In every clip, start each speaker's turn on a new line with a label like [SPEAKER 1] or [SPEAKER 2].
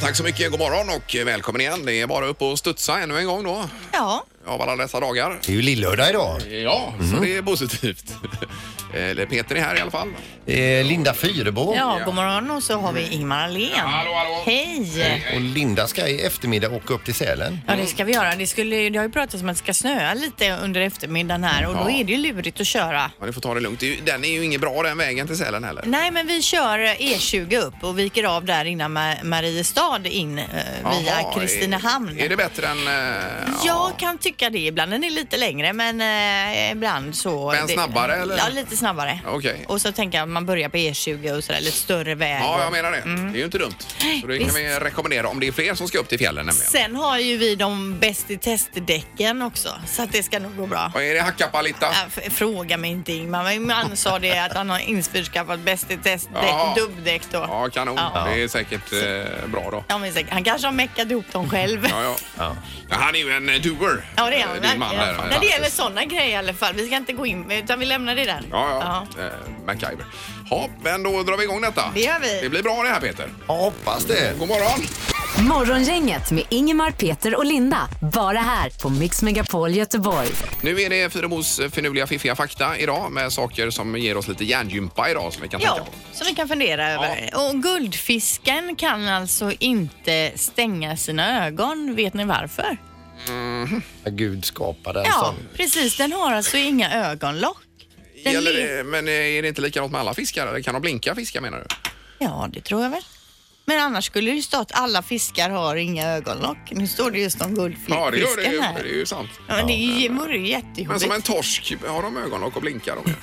[SPEAKER 1] Tack så mycket, god morgon och välkommen igen. Det är bara upp och studsa ännu en gång då,
[SPEAKER 2] Ja,
[SPEAKER 1] av alla dessa dagar.
[SPEAKER 3] Det är ju lillördag idag.
[SPEAKER 1] Ja, så det är positivt. Eller Peter är här i alla fall.
[SPEAKER 3] Eh, Linda Fyrebo
[SPEAKER 2] ja, god morgon och så har vi Ingmar Ahlén.
[SPEAKER 1] Hallå, hallå.
[SPEAKER 2] Hej!
[SPEAKER 3] och Linda ska i eftermiddag åka upp till Sälen.
[SPEAKER 2] Ja, det ska vi göra. Det, skulle, det har ju pratats om att det ska snöa lite under eftermiddagen här och då
[SPEAKER 1] Ja.
[SPEAKER 2] är det ju lurigt att köra.
[SPEAKER 1] Ja, ni får ta det lugnt. Det är ju- Den är ju ingen bra den vägen till Sälen heller.
[SPEAKER 2] Nej, men vi kör eh, E20 upp och viker av där innan Ma- Mariestad in eh, via
[SPEAKER 1] Jaha,
[SPEAKER 2] Kristinehamn.
[SPEAKER 1] Är, är det bättre än... eh, ja.
[SPEAKER 2] Jag kan tycka det ibland. Den är lite längre men eh, ibland så...
[SPEAKER 1] Men
[SPEAKER 2] det-
[SPEAKER 1] snabbare, eller?
[SPEAKER 2] Ja, lite snabbare.
[SPEAKER 1] Okej.
[SPEAKER 2] Och så tänker jag att man börjar på E20 och sådär, lite större väg.
[SPEAKER 1] Ja,
[SPEAKER 2] och-
[SPEAKER 1] jag menar det. Det är ju inte dumt. Så det kan
[SPEAKER 2] Mm. Visst.
[SPEAKER 1] vi rekommendera om det är fler som ska upp till fjällen nämligen.
[SPEAKER 2] Sen har ju vi de bäst i testdäcken också, så att det ska nog gå bra.
[SPEAKER 1] Och är det Hakkapaliitta?
[SPEAKER 2] Äh, f- Fråga mig inte Ingmar, men han sa det att han har införskaffat bäst i
[SPEAKER 1] Jaha.
[SPEAKER 2] testdäck, dubbdäck då.
[SPEAKER 1] Ja, kanon.
[SPEAKER 2] Ja.
[SPEAKER 1] Det är säkert eh, bra då.
[SPEAKER 2] Ja, men säkert. Han kanske har meckat ihop dem själv.
[SPEAKER 1] Ja, ja.
[SPEAKER 3] Ja.
[SPEAKER 1] Ja, Han är ju en eh, doer.
[SPEAKER 2] Ja, det är
[SPEAKER 1] eh,
[SPEAKER 2] han
[SPEAKER 1] Din man
[SPEAKER 2] verkligen.
[SPEAKER 1] där.
[SPEAKER 2] När det gäller sådana grejer i alla fall. Vi ska inte gå in, utan vi lämnar det där.
[SPEAKER 1] Ja, ja. Eh, MacGyver. Ja, men då drar vi igång detta.
[SPEAKER 2] Det gör vi.
[SPEAKER 1] Det blir bra det här Peter.
[SPEAKER 3] Ja, hoppas det.
[SPEAKER 1] God morgon!
[SPEAKER 4] Morgongänget med Ingemar, Peter och Linda. Bara här på Mix Megapol Göteborg.
[SPEAKER 1] Nu är det Fyrabos finurliga fiffiga fakta idag med saker som ger oss lite hjärngympa idag som vi kan tänka
[SPEAKER 2] Ja,
[SPEAKER 1] på.
[SPEAKER 2] som vi kan fundera över. Och guldfisken kan alltså inte stänga sina ögon. Vet ni varför?
[SPEAKER 3] Gud skapade en
[SPEAKER 2] Ja,
[SPEAKER 3] sån.
[SPEAKER 2] precis. Den har alltså inga ögonlock. Den
[SPEAKER 1] Gäller
[SPEAKER 2] le-
[SPEAKER 1] det, men eh, är det inte likadant med alla fiskar? Eller kan de blinka fiskar menar du?
[SPEAKER 2] Ja, det tror jag väl. Men annars skulle det ju stå att alla fiskar har inga ögonlock. Nu står det just om guldfisken
[SPEAKER 1] Ja, det gör det. ju.
[SPEAKER 2] här.
[SPEAKER 1] Det är ju sant.
[SPEAKER 2] Ja, men det är ju- vore ju
[SPEAKER 1] Men
[SPEAKER 2] jättejobbigt.
[SPEAKER 1] som en torsk, har de ögonlock och blinkar de ju?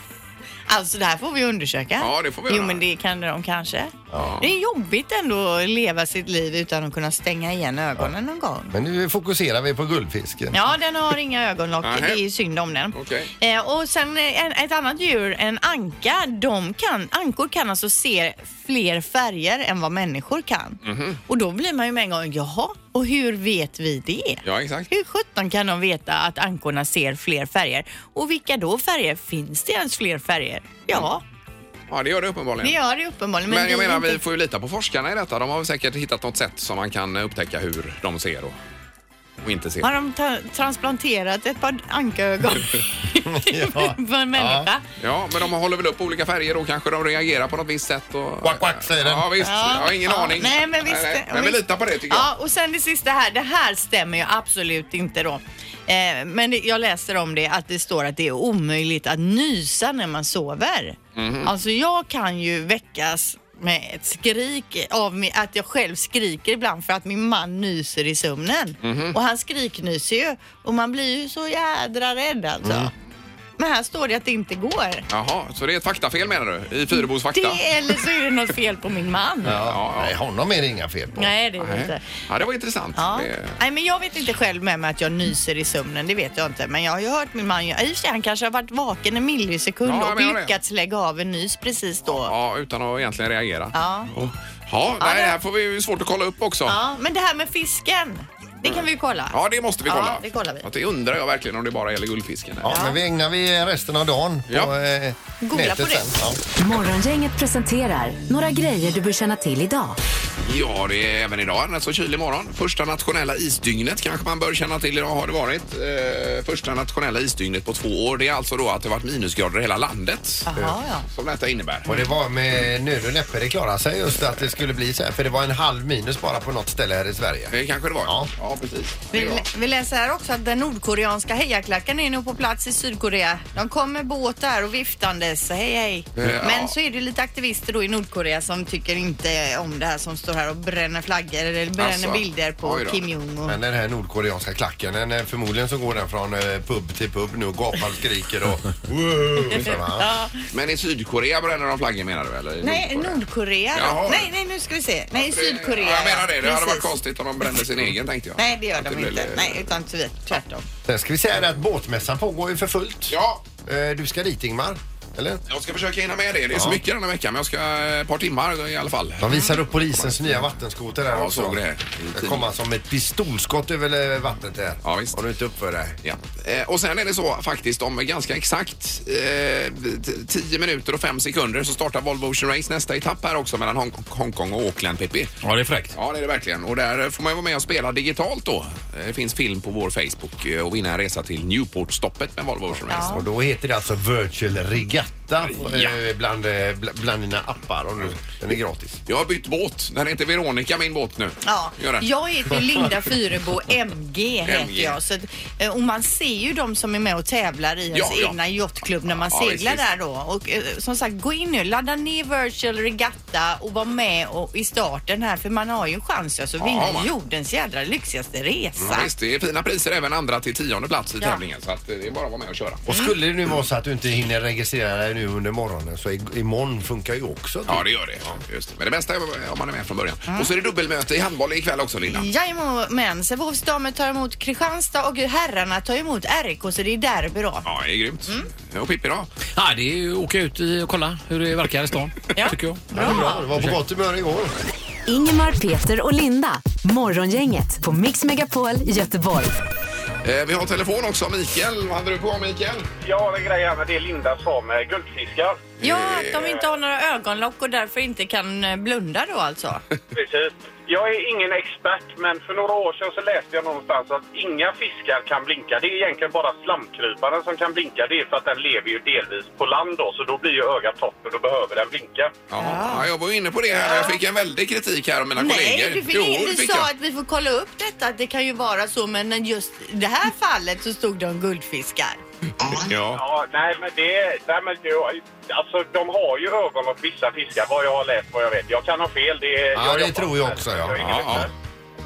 [SPEAKER 2] Alltså det här får vi undersöka.
[SPEAKER 1] Ja, det får vi
[SPEAKER 2] Jo,
[SPEAKER 1] göra.
[SPEAKER 2] men det kan de kanske.
[SPEAKER 1] Ja.
[SPEAKER 2] Det är jobbigt ändå att leva sitt liv utan att kunna stänga igen ögonen någon gång.
[SPEAKER 3] Men nu fokuserar vi på guldfisken.
[SPEAKER 2] Ja, den har inga ögonlock.
[SPEAKER 1] Nähä.
[SPEAKER 2] Det är ju synd om den.
[SPEAKER 1] Okej.
[SPEAKER 2] Eh, och sen eh, en, ett annat djur, en anka, de kan, ankor kan alltså se fler färger än vad människor kan.
[SPEAKER 1] Mhm.
[SPEAKER 2] Och då blir man ju med en gång, jaha, och hur vet vi det?
[SPEAKER 1] Ja, exakt.
[SPEAKER 2] Hur sjutton kan de veta att ankorna ser fler färger? Och vilka då färger? Finns det ens fler färger? Ja,
[SPEAKER 1] Mm. Ja, det gör det
[SPEAKER 2] det
[SPEAKER 1] uppenbarligen.
[SPEAKER 2] gör det uppenbarligen.
[SPEAKER 1] Men, jag
[SPEAKER 2] vi
[SPEAKER 1] menar, vi
[SPEAKER 2] inte-
[SPEAKER 1] får ju lita på forskarna i detta. De har väl säkert hittat något sätt som man kan eh, upptäcka hur de ser och, och inte ser.
[SPEAKER 2] Har de ta- transplanterat ett par ankaögon på en människa?
[SPEAKER 1] Ja, men de håller väl upp olika färger och kanske de reagerar på något visst sätt. Och...
[SPEAKER 3] Quack, quack, säger den.
[SPEAKER 1] Ja, visst. Jag har ingen
[SPEAKER 2] ja,
[SPEAKER 1] aning.
[SPEAKER 2] Nej, men visst.
[SPEAKER 1] nej. Men vi
[SPEAKER 2] visst.
[SPEAKER 1] litar på det tycker
[SPEAKER 2] Ja, och sen det sista här. Det här stämmer ju absolut inte då. Eh, men det, jag läser om det att det står att det är omöjligt att nysa när man sover.
[SPEAKER 1] Mhm.
[SPEAKER 2] Alltså jag kan ju väckas med ett skrik av mig, att jag själv skriker ibland för att min man nyser i sömnen.
[SPEAKER 1] Mhm.
[SPEAKER 2] Och han skriknyser ju och man blir ju så jädra rädd alltså.
[SPEAKER 1] Mm.
[SPEAKER 2] Men här står det att det inte går.
[SPEAKER 1] jag. Jaha, så det är ett faktafel menar du? I Fyrebos fakta?
[SPEAKER 2] Det, eller så är det något fel på min man.
[SPEAKER 3] Ja, Nej, honom är det inga fel på.
[SPEAKER 2] Nej, det är det
[SPEAKER 1] Nej.
[SPEAKER 2] inte.
[SPEAKER 1] Ja, det var intressant.
[SPEAKER 2] Ja.
[SPEAKER 1] Det...
[SPEAKER 2] Nej, men jag vet inte själv med mig att jag nyser i sömnen, det vet jag inte. Men jag har ju hört min man, göra- i och för sig, han kanske har varit vaken en millisekund
[SPEAKER 1] Ja, jag menar
[SPEAKER 2] och
[SPEAKER 1] det.
[SPEAKER 2] lyckats lägga av en nys precis då. Ja.
[SPEAKER 1] Ja, utan att egentligen reagera.
[SPEAKER 2] Ja.
[SPEAKER 1] Och- Ja, nej,
[SPEAKER 2] det-
[SPEAKER 1] det här får vi ju svårt att kolla upp också. Ja.
[SPEAKER 2] men det här med fisken, det kan vi ju kolla.
[SPEAKER 1] det måste vi kolla.
[SPEAKER 2] Ja, det kollar vi.
[SPEAKER 1] Att det undrar jag verkligen om det bara gäller guldfisken.
[SPEAKER 3] Ja, men vi ägnar vi resten av dagen på
[SPEAKER 1] Ja.
[SPEAKER 3] eh,
[SPEAKER 2] Googla
[SPEAKER 3] nätet
[SPEAKER 2] på det.
[SPEAKER 3] sen. Ja.
[SPEAKER 4] Morgongänget presenterar några grejer du bör känna till idag.
[SPEAKER 1] Ja, det är även idag en rätt så kylig morgon. Första nationella isdygnet kanske man bör känna till idag har det varit. Eh, första nationella isdygnet på två år. Det är alltså då att det varit minusgrader i hela landet.
[SPEAKER 2] Jaha, ja.
[SPEAKER 1] Som detta innebär.
[SPEAKER 3] Och det var med nöd och näppe det klarade sig just att det skulle bli så här. För det var en halv minus bara på något ställe här i Sverige.
[SPEAKER 1] Det kanske det var.
[SPEAKER 3] Ja.
[SPEAKER 1] precis. Det är
[SPEAKER 2] Vi,
[SPEAKER 1] bra.
[SPEAKER 2] vi läser här också att den nordkoreanska hejaklacken är nu på plats i Sydkorea. De kom med båtar och viftandes. Hej, hej.
[SPEAKER 1] Ja.
[SPEAKER 2] Men så är det lite aktivister då i Nordkorea som tycker inte om det här som står här och bränner flaggor eller bränner
[SPEAKER 1] Alltså,
[SPEAKER 2] bilder på
[SPEAKER 1] oj då.
[SPEAKER 2] Kim Jong och
[SPEAKER 3] Men den här nordkoreanska klacken, den, eh, förmodligen så går den från eh, pub till pub nu och gapar och skriker och... Wow, så, va?
[SPEAKER 1] Men i Sydkorea bränner de flaggor menar du? Eller i
[SPEAKER 2] Nej,
[SPEAKER 1] Nordkorea?
[SPEAKER 2] Nordkorea.
[SPEAKER 1] Jaha.
[SPEAKER 2] Nej, nej, nu ska vi se. Nej,
[SPEAKER 1] Det-
[SPEAKER 2] Sydkorea.
[SPEAKER 1] Ja, jag menar det. Det hade varit
[SPEAKER 2] Precis.
[SPEAKER 1] konstigt om de brände sin egen tänkte jag.
[SPEAKER 2] Nej, det gör
[SPEAKER 1] Att
[SPEAKER 2] de
[SPEAKER 1] blev-
[SPEAKER 2] inte. Nej, utan tvärt- tvärtom.
[SPEAKER 3] Eh, Sen ska vi säga det att båtmässan pågår ju för fullt.
[SPEAKER 1] Ja,
[SPEAKER 3] Eh, Du ska dit Ingmar. Eller?
[SPEAKER 1] Jag ska försöka hinna med det. Det är så mycket denna vecka, men jag ska eh, ett par timmar i alla fall.
[SPEAKER 3] De visar upp polisens nya vattenskoter här
[SPEAKER 1] Ja,
[SPEAKER 3] också.
[SPEAKER 1] såg det. I
[SPEAKER 3] Det
[SPEAKER 1] tidningen.
[SPEAKER 3] kommer alltså som ett pistolskott över eh, vattnet där.
[SPEAKER 1] Ja, visst.
[SPEAKER 3] Om du inte uppför dig.
[SPEAKER 1] Ja. Eh, Och sen är det så faktiskt om ganska exakt eh, t- 10 minuter och 5 sekunder så startar Volvo Ocean Race nästa etapp här också mellan Hong- Hongkong och Auckland, Pippi.
[SPEAKER 5] Ja, det är fräckt.
[SPEAKER 1] Ja, det är det verkligen. Och där får man ju vara med och spela digitalt då. Eh, Det finns film på vår Facebook eh, och vinna en resa till Newport-stoppet med Volvo Ocean Race.
[SPEAKER 3] Och då heter det alltså Virtual Regatta eh, bland, eh, bl- bland dina appar. Om du, den är gratis.
[SPEAKER 1] Jag har bytt båt. Den heter Veronica, min båt nu.
[SPEAKER 2] Ja,
[SPEAKER 1] Gör den.
[SPEAKER 2] jag heter ju Linda Fyrebo, MG heter
[SPEAKER 1] MG.
[SPEAKER 2] jag. Så att, eh, och man ser ju de som är med och tävlar i ens
[SPEAKER 1] Ja, ja.
[SPEAKER 2] egna yachtklubb när man
[SPEAKER 1] Ja,
[SPEAKER 2] seglar
[SPEAKER 1] visst,
[SPEAKER 2] där då. Och eh, som sagt, gå in nu, ladda ner Virtual Regatta och var med och, i starten här för man har ju en chans alltså, att vinna
[SPEAKER 1] man.
[SPEAKER 2] jordens jädra lyxigaste resa.
[SPEAKER 1] Ja, visst, det är fina priser även andra till tionde plats i
[SPEAKER 2] Ja.
[SPEAKER 1] tävlingen. Så att eh, det är bara att vara med och köra.
[SPEAKER 3] Och skulle det nu vara så att du inte hinner registrera dig nu under morgonen så i- imorgon funkar ju också. typ.
[SPEAKER 1] Ja, det gör det. Ja, just det. Men det bästa är om man är med från början. Och så är det dubbelmöte i handboll ikväll också, Linda.
[SPEAKER 2] Jajamän, Sävehofs damer tar emot Kristianstad och herrarna tar emot RIK så det är derby då.
[SPEAKER 1] Ja, det är grymt.
[SPEAKER 2] Mm.
[SPEAKER 1] Och Pippi då?
[SPEAKER 5] Ja, det är ju att åka ut i och kolla hur det verkar i stan,
[SPEAKER 2] Ja.
[SPEAKER 5] tycker jag.
[SPEAKER 3] Ja, det är bra. Det var på gott humör igår.
[SPEAKER 4] Ingemar, Peter och Linda. Morgongänget på Mix Megapol Göteborg.
[SPEAKER 1] Eh, vi har telefon också. Mikael, vad hade du på Mikael?
[SPEAKER 6] Jag har en grej här med det Linda sa med guldfiskar.
[SPEAKER 2] Ja, att de inte har några ögonlock och därför inte kan eh, blunda då alltså.
[SPEAKER 6] Precis. Jag är ingen expert, men för några år sedan så läste jag någonstans att inga fiskar kan blinka. Det är egentligen bara slamkryparen som kan blinka. Det är för att den lever ju delvis på land då, så då blir ju ögat torrt och då behöver den blinka.
[SPEAKER 1] Ja. Ja, jag var ju inne på det här. Jag fick en väldig kritik här av mina kollegor.
[SPEAKER 2] Nej, du, fick
[SPEAKER 1] Jo,
[SPEAKER 2] ingen,
[SPEAKER 1] det
[SPEAKER 2] du
[SPEAKER 1] fick
[SPEAKER 2] sa
[SPEAKER 1] jag.
[SPEAKER 2] att vi får kolla upp detta, att det kan ju vara så, men när just i det här fallet så stod det om guldfiskar.
[SPEAKER 1] Ja.
[SPEAKER 6] Ja, nej men det... Nej, men det alltså, de har ju ögon och vissa fiskar, vad jag har läst, vad jag vet. Jag kan ha fel. Det, är-
[SPEAKER 3] Ja, det
[SPEAKER 6] jobbar
[SPEAKER 3] tror jag
[SPEAKER 6] med-
[SPEAKER 3] också, ja.
[SPEAKER 6] är ingen
[SPEAKER 1] Ja, ja.
[SPEAKER 6] expert.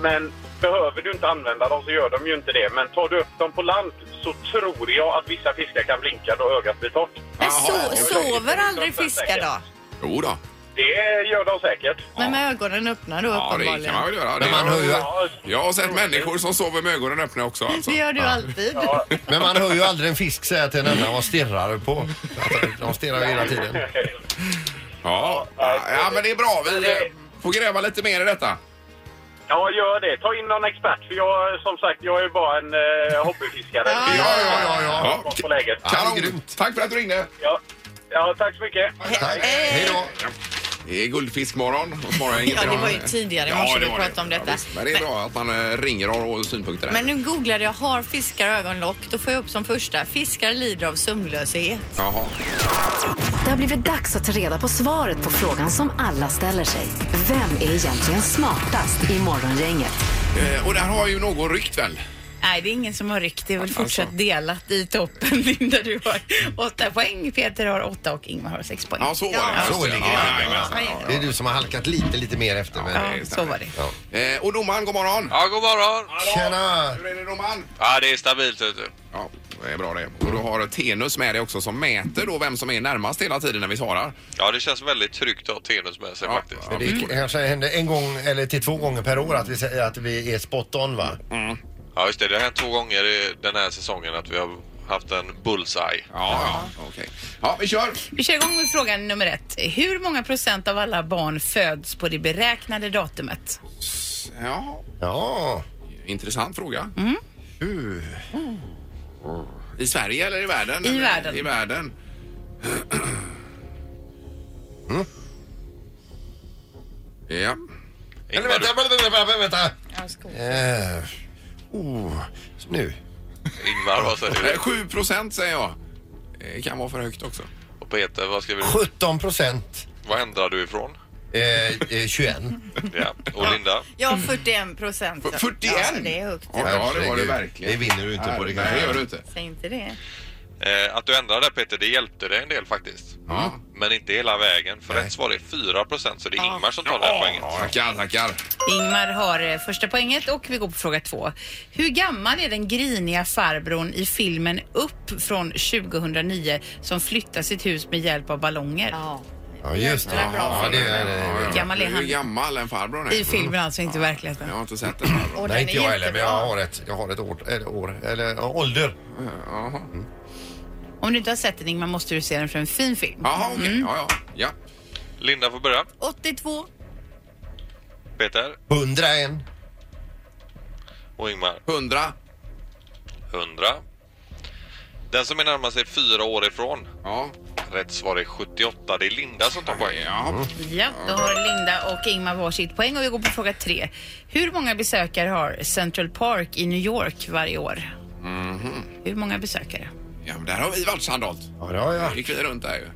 [SPEAKER 6] Men behöver du inte använda dem så gör de ju inte det. Men tar du upp dem på land så tror jag att vissa fiskar kan blinka då ögat blir torrt.
[SPEAKER 2] Men
[SPEAKER 1] Jaha,
[SPEAKER 2] so
[SPEAKER 1] okej.
[SPEAKER 2] sover aldrig fiskar då?
[SPEAKER 1] Jo då.
[SPEAKER 6] Det gör de säkert.
[SPEAKER 2] Men med ögonen öppna då
[SPEAKER 1] Ja, det
[SPEAKER 2] uppenbarligen.
[SPEAKER 1] kan man väl göra. Det
[SPEAKER 3] Men man hör ju,
[SPEAKER 6] Ja,
[SPEAKER 1] Jag har sett människor som sover med ögonen öppna också. Alltså.
[SPEAKER 2] Det gör du alltid.
[SPEAKER 6] ja.
[SPEAKER 3] men man hör ju aldrig en fisk säga till en annan vad stirrar du på? Alltså, De stirrar ju hela tiden.
[SPEAKER 1] Ja. ja, men det är bra. Vi eh, får gräva lite mer i detta.
[SPEAKER 6] ja, gör det. Ta in någon expert. För jag, som sagt, jag är ju bara en eh, hobbyfiskare.
[SPEAKER 2] Ja,
[SPEAKER 3] ja, ja, ja.
[SPEAKER 6] Koll På läget.
[SPEAKER 3] Ja.
[SPEAKER 1] Kanon.
[SPEAKER 3] grymt.
[SPEAKER 1] Tack för att du ringde.
[SPEAKER 6] Ja. ja, tack så mycket.
[SPEAKER 3] Tack. Hej då.
[SPEAKER 1] Det är guldfiskmorgon och morgon
[SPEAKER 2] Ja, det var ju tidigare i morse vi pratade om detta.
[SPEAKER 1] visst. men det är bra att man eh, ringer och har synpunkter. där.
[SPEAKER 2] Men nu googlade jag, har fiskar ögonlock? Då får jag upp som första, fiskar lider av sömnlöshet.
[SPEAKER 1] Jaha.
[SPEAKER 4] Det har blivit dags att ta reda på svaret på frågan som alla ställer sig. Vem är egentligen smartast i Morgongänget?
[SPEAKER 1] Eh, Och där har ju någon ryckt väl?
[SPEAKER 7] Nej, det är ingen som har ryckt. Det är väl
[SPEAKER 1] Alltså.
[SPEAKER 7] fortsatt delat i toppen. Linda, du har åtta poäng. Peter har åtta och Ingmar har sex poäng.
[SPEAKER 1] Ja, så var det. Just
[SPEAKER 3] så
[SPEAKER 1] det.
[SPEAKER 3] ligger det.
[SPEAKER 1] Ja, jajamän.
[SPEAKER 7] Ja, ja,
[SPEAKER 3] Det är du som har halkat lite, lite mer efter. Men...
[SPEAKER 7] ja, så var det.
[SPEAKER 3] Ja.
[SPEAKER 1] Eh, Och domaren, god morgon.
[SPEAKER 8] Ja, god morgon.
[SPEAKER 3] Tjena!
[SPEAKER 1] Hur är det domaren?
[SPEAKER 8] Ja, det är stabilt vet du.
[SPEAKER 1] Ja, det är bra det. Och du har Tenus med dig också som mäter då vem som är närmast hela tiden när vi svarar.
[SPEAKER 8] Ja, det känns väldigt tryggt att ha Tenus med sig
[SPEAKER 1] Ja.
[SPEAKER 8] faktiskt.
[SPEAKER 3] Men Det kanske händer en gång eller till två gånger per år att vi, säger att vi är spot on va?
[SPEAKER 8] Ja, just det. Det har hänt två gånger i den här säsongen att vi har haft en bullseye.
[SPEAKER 1] Ja, ja. Okej. Ja, vi kör.
[SPEAKER 7] Vi kör igång med fråga nummer ett. Hur många procent av alla barn föds på det beräknade datumet?
[SPEAKER 1] Ja,
[SPEAKER 3] Ja,
[SPEAKER 1] intressant fråga. Mm. I Sverige eller i världen?
[SPEAKER 7] I
[SPEAKER 1] Eller-
[SPEAKER 7] världen.
[SPEAKER 1] I världen. Mm. Ja.
[SPEAKER 3] Eller
[SPEAKER 8] Ingmar,
[SPEAKER 3] vänta,
[SPEAKER 8] du,
[SPEAKER 3] vänta, vänta, vänta, vänta.
[SPEAKER 7] Ja, skål.
[SPEAKER 3] Eh, oh, nu.
[SPEAKER 8] Ingmar, vad säger
[SPEAKER 1] Eh,
[SPEAKER 8] du?
[SPEAKER 1] 7 procent säger jag. Eh, kan vara för högt också.
[SPEAKER 8] Och Peter, vad skriver du?
[SPEAKER 3] 17 procent.
[SPEAKER 8] Vad ändrar du ifrån?
[SPEAKER 3] Eh, eh, 21.
[SPEAKER 8] Ja, och Linda?
[SPEAKER 2] Ja, 41 procent.
[SPEAKER 1] F- 41?
[SPEAKER 2] Ja, det är högt.
[SPEAKER 1] Ja, det var det
[SPEAKER 3] Herregud.
[SPEAKER 1] verkligen.
[SPEAKER 3] Det vinner du inte på, det kan
[SPEAKER 1] Nej,
[SPEAKER 3] jag
[SPEAKER 1] det gör
[SPEAKER 3] göra.
[SPEAKER 1] du inte.
[SPEAKER 2] Säg inte det.
[SPEAKER 8] Eh, att du ändrade där Peter, det hjälpte dig en del faktiskt.
[SPEAKER 1] Ja.
[SPEAKER 8] Men inte hela vägen. För rätt svar är 4 procent, så det är Ingmar som tar det här poängen.
[SPEAKER 1] Tackar, tackar.
[SPEAKER 7] Ingmar har eh, första poänget och vi går på fråga två. Hur gammal är den griniga farbrorn i filmen Upp från 2009 som flyttar sitt hus med hjälp av ballonger?
[SPEAKER 2] Ja.
[SPEAKER 3] Ja, just det. Ja, det är, eh,
[SPEAKER 1] Ja, ja.
[SPEAKER 7] gammal är
[SPEAKER 1] Hur
[SPEAKER 7] han?
[SPEAKER 1] gammal en farbror är.
[SPEAKER 7] I filmen alltså, inte i verkligheten.
[SPEAKER 1] Jag har inte sett den. här bra.
[SPEAKER 2] Och
[SPEAKER 3] nej,
[SPEAKER 2] den
[SPEAKER 3] inte
[SPEAKER 2] är
[SPEAKER 3] jag heller, men jag
[SPEAKER 2] jättebra.
[SPEAKER 7] Mm.
[SPEAKER 3] har ett, jag har ett år, eller, år, eller ja, ålder.
[SPEAKER 1] Jaha.
[SPEAKER 7] Om du inte har sett den Ingmar måste du se den för en fin film.
[SPEAKER 1] Jaha, okej.
[SPEAKER 7] Mm.
[SPEAKER 1] Ja, ja. ja.
[SPEAKER 8] Linda får börja.
[SPEAKER 7] 82.
[SPEAKER 8] Peter
[SPEAKER 3] 101.
[SPEAKER 8] och Ingmar.
[SPEAKER 1] 100.
[SPEAKER 8] 100. Den som är närmast är fyra år ifrån.
[SPEAKER 1] Ja.
[SPEAKER 8] Rätt svar är 78. Det är Linda som tar poäng.
[SPEAKER 1] Ja.
[SPEAKER 7] Ja, då har Linda och Ingmar varsitt poäng och vi går på fråga tre. Hur många besökare har Central Park i New York varje år?
[SPEAKER 1] Mhm.
[SPEAKER 7] Hur många besökare?
[SPEAKER 1] ja, men där har vi varit Sandholt.
[SPEAKER 3] Ja, det har
[SPEAKER 1] Där
[SPEAKER 3] jag.
[SPEAKER 1] gick vi runt där ju.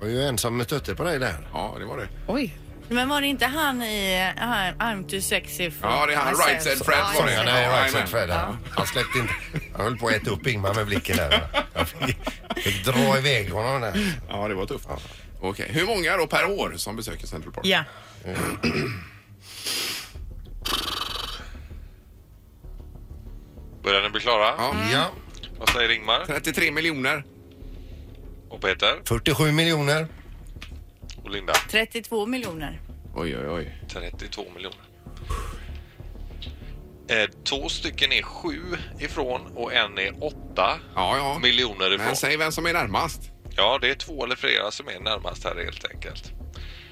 [SPEAKER 3] Jag är ju ensam med stötte på dig där.
[SPEAKER 1] Ja, det var det.
[SPEAKER 7] Oj.
[SPEAKER 2] Men var det inte han i eh, han- I'm too sexy for
[SPEAKER 1] Ja, det är han. Right said
[SPEAKER 2] myself?
[SPEAKER 1] Fred.
[SPEAKER 2] Ja,
[SPEAKER 1] var det.
[SPEAKER 3] Ja, nej,
[SPEAKER 1] Ja,
[SPEAKER 3] jag
[SPEAKER 1] jajamän.
[SPEAKER 3] exakt Fred. här. Han släppte inte. Han höll på att äta upp Ingmar med blicken där. Jag fick, fick dra iväg honom där.
[SPEAKER 1] Ja, det var tufft. Okej. Hur många då per år som besöker Central Park?
[SPEAKER 2] Ja.
[SPEAKER 8] Börjar ni bli klara?
[SPEAKER 1] Ja.
[SPEAKER 3] Ja,
[SPEAKER 8] Vad säger Ingmar
[SPEAKER 1] 33 miljoner.
[SPEAKER 8] och Peter
[SPEAKER 3] 47 miljoner.
[SPEAKER 8] och Linda?
[SPEAKER 2] 32 miljoner.
[SPEAKER 1] Oj, oj, oj.
[SPEAKER 8] 32 miljoner. Eh, två stycken är sju ifrån och en är åtta
[SPEAKER 1] Ja, ja.
[SPEAKER 8] miljoner ifrån.
[SPEAKER 1] Men säg vem som är närmast.
[SPEAKER 8] Ja, det är två eller flera som är närmast här helt enkelt.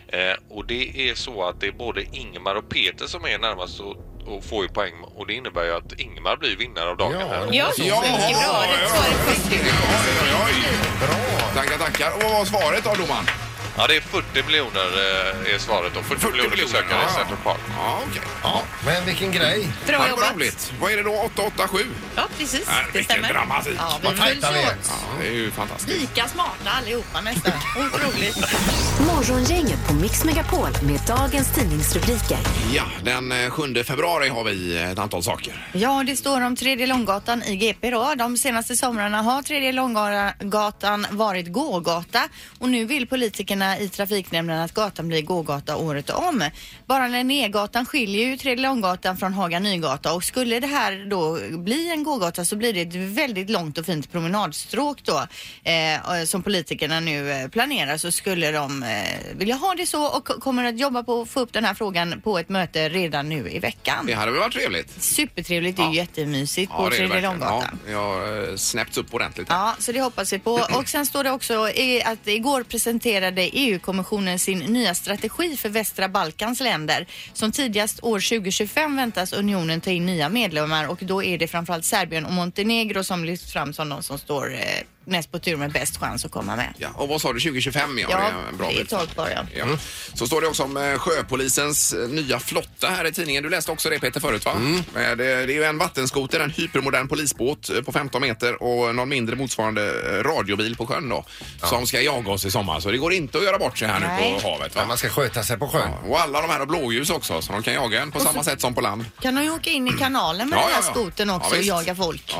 [SPEAKER 8] Eh, och det är så att det är både Ingmar och Peter som är närmast och, och får ju poäng och det innebär ju att Ingmar blir vinnare av dagen.
[SPEAKER 3] Ja,
[SPEAKER 8] här.
[SPEAKER 3] det-
[SPEAKER 7] Ja,
[SPEAKER 1] Ja,
[SPEAKER 7] mycket bra.
[SPEAKER 1] ja,
[SPEAKER 7] Rätt svar är 40.
[SPEAKER 1] Oj, oj, oj.
[SPEAKER 3] Bra!
[SPEAKER 1] Tackar, tackar. Och vad var svaret då, domaren?
[SPEAKER 8] ja det är 40 miljoner eh, är svaret då. 40,
[SPEAKER 1] 40
[SPEAKER 8] miljoner
[SPEAKER 1] miljoner,
[SPEAKER 8] besökare
[SPEAKER 1] ja,
[SPEAKER 8] i
[SPEAKER 1] ja.
[SPEAKER 8] Central Park.
[SPEAKER 1] Ja, okej.
[SPEAKER 3] Ja, men vilken grej.
[SPEAKER 7] Bra
[SPEAKER 1] Tack, vad
[SPEAKER 7] jobbat.
[SPEAKER 1] roligt. Vad är det då? 887?
[SPEAKER 7] Ja, precis.
[SPEAKER 1] Nej,
[SPEAKER 7] Det
[SPEAKER 1] vilken
[SPEAKER 7] stämmer.
[SPEAKER 1] dramatik.
[SPEAKER 7] Ja, vi
[SPEAKER 3] Vad
[SPEAKER 7] följs
[SPEAKER 3] tajta vi är.
[SPEAKER 7] åt.
[SPEAKER 1] Ja, det är ju fantastiskt.
[SPEAKER 2] Lika smarta allihopa nästan. Otroligt.
[SPEAKER 4] Morgongänget på Mix Megapol med dagens tidningsrubriker.
[SPEAKER 1] Ja, den eh, 7 februari har vi eh, ett antal saker.
[SPEAKER 2] Ja, det står om Tredje Långgatan i GP då. De senaste somrarna har Tredje Långgatan varit gågata och nu vill politikerna i trafiknämnden att gatan blir gågata året om. Bara Linnégatan skiljer ju Tredje Långgatan från Haga Nygata och skulle det här då bli en gågata så blir det ett väldigt långt och fint promenadstråk då eh, som politikerna nu eh, planerar så skulle de eh, vilja ha det så och ko- kommer att jobba på att få upp den här frågan på ett möte redan nu i veckan.
[SPEAKER 1] Det hade väl varit trevligt?
[SPEAKER 2] Supertrevligt, det är ju jättemysigt på
[SPEAKER 1] det är det
[SPEAKER 2] Tredje
[SPEAKER 1] verkligen.
[SPEAKER 2] Långgatan.
[SPEAKER 1] Ja, jag har eh, snäppt upp ordentligt. här.
[SPEAKER 2] Ja, så det hoppas vi på. Och sen står det också i- att igår presenterade EU-kommissionen sin nya strategi för västra Balkans länder. Som tidigast år 2025 väntas unionen ta in nya medlemmar och då är det framförallt Serbien och Montenegro som lyfts fram som de som står eh, näst på tur med bäst chans att komma med.
[SPEAKER 1] Ja, och vad sa du, 2025? Ja, det är en bra
[SPEAKER 2] det är
[SPEAKER 1] bit.
[SPEAKER 2] ett tag ja.
[SPEAKER 1] Ja. Så står det också om eh, sjöpolisens eh, nya flotta här i tidningen. Du läste också det Peter förut va? Eh, Det, det är ju en vattenskoter, en hypermodern polisbåt eh, på 15 meter och någon mindre motsvarande eh, radiobil på sjön då. Som ska jaga oss i sommar. Så det går inte att göra bort sig här nu
[SPEAKER 2] Nej.
[SPEAKER 1] på havet
[SPEAKER 3] Ja,
[SPEAKER 1] va?
[SPEAKER 3] man ska sköta sig på sjön.
[SPEAKER 1] Och alla de här har blåljus också så de kan jaga en på samma sätt som på land.
[SPEAKER 2] Kan de ju åka in i kanalen med
[SPEAKER 1] Ja,
[SPEAKER 2] den här
[SPEAKER 1] ja, ja.
[SPEAKER 2] skotern också
[SPEAKER 1] Ja,
[SPEAKER 2] och
[SPEAKER 1] visst.
[SPEAKER 2] jaga folk?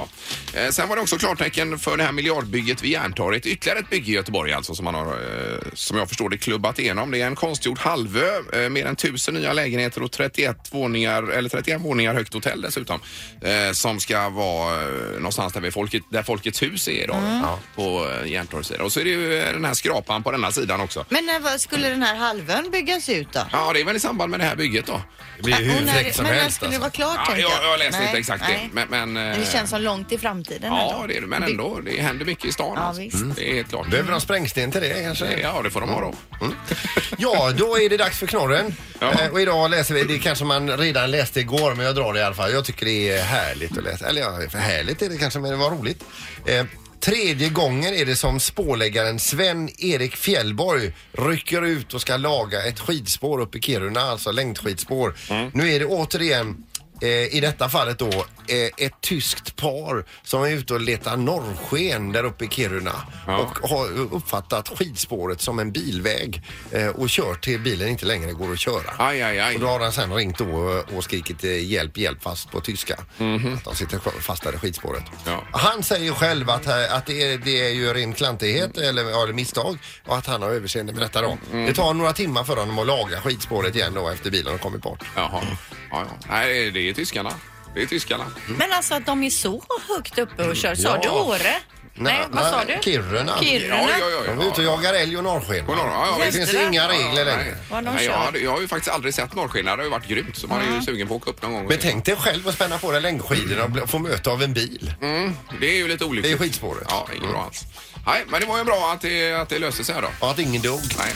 [SPEAKER 1] Ja. Eh, Sen var det också klartecken för det här miljardbygget vid Järntorget. Ytterligare ett bygge i Göteborg alltså som man har, eh, som jag förstår det, klubbat igenom. Det är en konstgjord halvö, eh, mer än tusen nya lägenheter och 31 våningar, eller 31 våningar högt hotell dessutom. Eh, som ska vara eh, någonstans där, vi folket, där Folkets hus är idag.
[SPEAKER 2] Mm.
[SPEAKER 1] Ja, på eh, Järntorgets sida. Och så är det ju eh, den här skrapan på denna sidan också.
[SPEAKER 2] Men när vad- skulle den här halvön byggas ut då?
[SPEAKER 1] Ja, det är väl i samband med det här bygget då.
[SPEAKER 3] Det blir
[SPEAKER 2] Ja,
[SPEAKER 3] hur
[SPEAKER 2] och när-
[SPEAKER 3] fräckt som
[SPEAKER 2] men när
[SPEAKER 3] helst.
[SPEAKER 2] skulle det
[SPEAKER 3] Alltså.
[SPEAKER 2] vara klart?
[SPEAKER 1] Ja,
[SPEAKER 2] tänker
[SPEAKER 1] jag, jag läste
[SPEAKER 2] Nej,
[SPEAKER 1] inte exakt
[SPEAKER 2] nej.
[SPEAKER 1] det. Men, men,
[SPEAKER 2] Men det
[SPEAKER 1] eh,
[SPEAKER 2] känns som långt i framtiden.
[SPEAKER 1] Ja,
[SPEAKER 2] ändå.
[SPEAKER 1] det är det. Men ändå, det händer mycket i stan.
[SPEAKER 2] Ja,
[SPEAKER 1] alltså.
[SPEAKER 2] visst. Mm.
[SPEAKER 1] Det är helt klart.
[SPEAKER 3] Behöver de sprängsten till det kanske?
[SPEAKER 1] Ja, det får de ha då.
[SPEAKER 3] Ja, då är det dags för knorren.
[SPEAKER 1] Ja.
[SPEAKER 3] Eh, och idag läser vi, det kanske man redan läste igår, men jag drar det i alla fall. Jag tycker det är härligt att läsa. Eller ja, för härligt är det kanske, men det var roligt. Eh, Tredje gången är det som spårläggaren Sven-Erik Fjällborg rycker ut och ska laga ett skidspår uppe i Kiruna, alltså längdskidspår. Nu är det återigen eh, i detta fallet då eh, ett tyskt par som är ute och letar norrsken där uppe i Kiruna och har uppfattat skidspåret som en bilväg eh, och kört till bilen inte längre går att köra.
[SPEAKER 1] Aj, aj, aj.
[SPEAKER 3] Och då har han sen ringt då och- och skrikit eh, hjälp, hjälp fast på tyska. Att de sitter sjö- fast där i skidspåret.
[SPEAKER 1] Mhm. Ja.
[SPEAKER 3] Han säger ju själv att, eh, att det, är, det är ju ren klantighet eller, ja, eller misstag och att han har överseende med detta då.
[SPEAKER 1] Mm.
[SPEAKER 3] Det tar några timmar för honom att laga skidspåret igen då efter bilen har kommit bort.
[SPEAKER 1] Jaha. Ja, ja. Nej,
[SPEAKER 3] Mm.
[SPEAKER 1] det är tyskarna. Det är tyskarna.
[SPEAKER 2] Men alltså att de är så högt uppe och kör. Sa
[SPEAKER 3] Ja.
[SPEAKER 2] du Åre? Nej, vad sa du?
[SPEAKER 3] Kiruna.
[SPEAKER 2] Kiruna.
[SPEAKER 1] Ja, ja, ja.
[SPEAKER 3] De är ute och jagar älg och norrsken.
[SPEAKER 1] Och norr- ja, ja,
[SPEAKER 3] det
[SPEAKER 1] visst.
[SPEAKER 3] finns
[SPEAKER 2] Jävlar.
[SPEAKER 3] inga regler
[SPEAKER 1] Nej.
[SPEAKER 3] längre.
[SPEAKER 2] Vad de
[SPEAKER 1] Nej, jag,
[SPEAKER 2] kör.
[SPEAKER 1] hade- jag har ju faktiskt aldrig sett norrsken. Det har ju varit grymt. Så man är ju sugen på att åka upp någon gång. och
[SPEAKER 3] Men
[SPEAKER 1] se.
[SPEAKER 3] tänk dig själv att spänna på dig längdskidorna och bli- få möte av en bil.
[SPEAKER 1] Mm, det är ju lite olyckligt.
[SPEAKER 3] Det är skitspåret.
[SPEAKER 1] Ja, inget bra alls. Nej, men det var ju bra att det, att det löste sig här då.
[SPEAKER 3] Och att ingen dog.
[SPEAKER 1] Nej.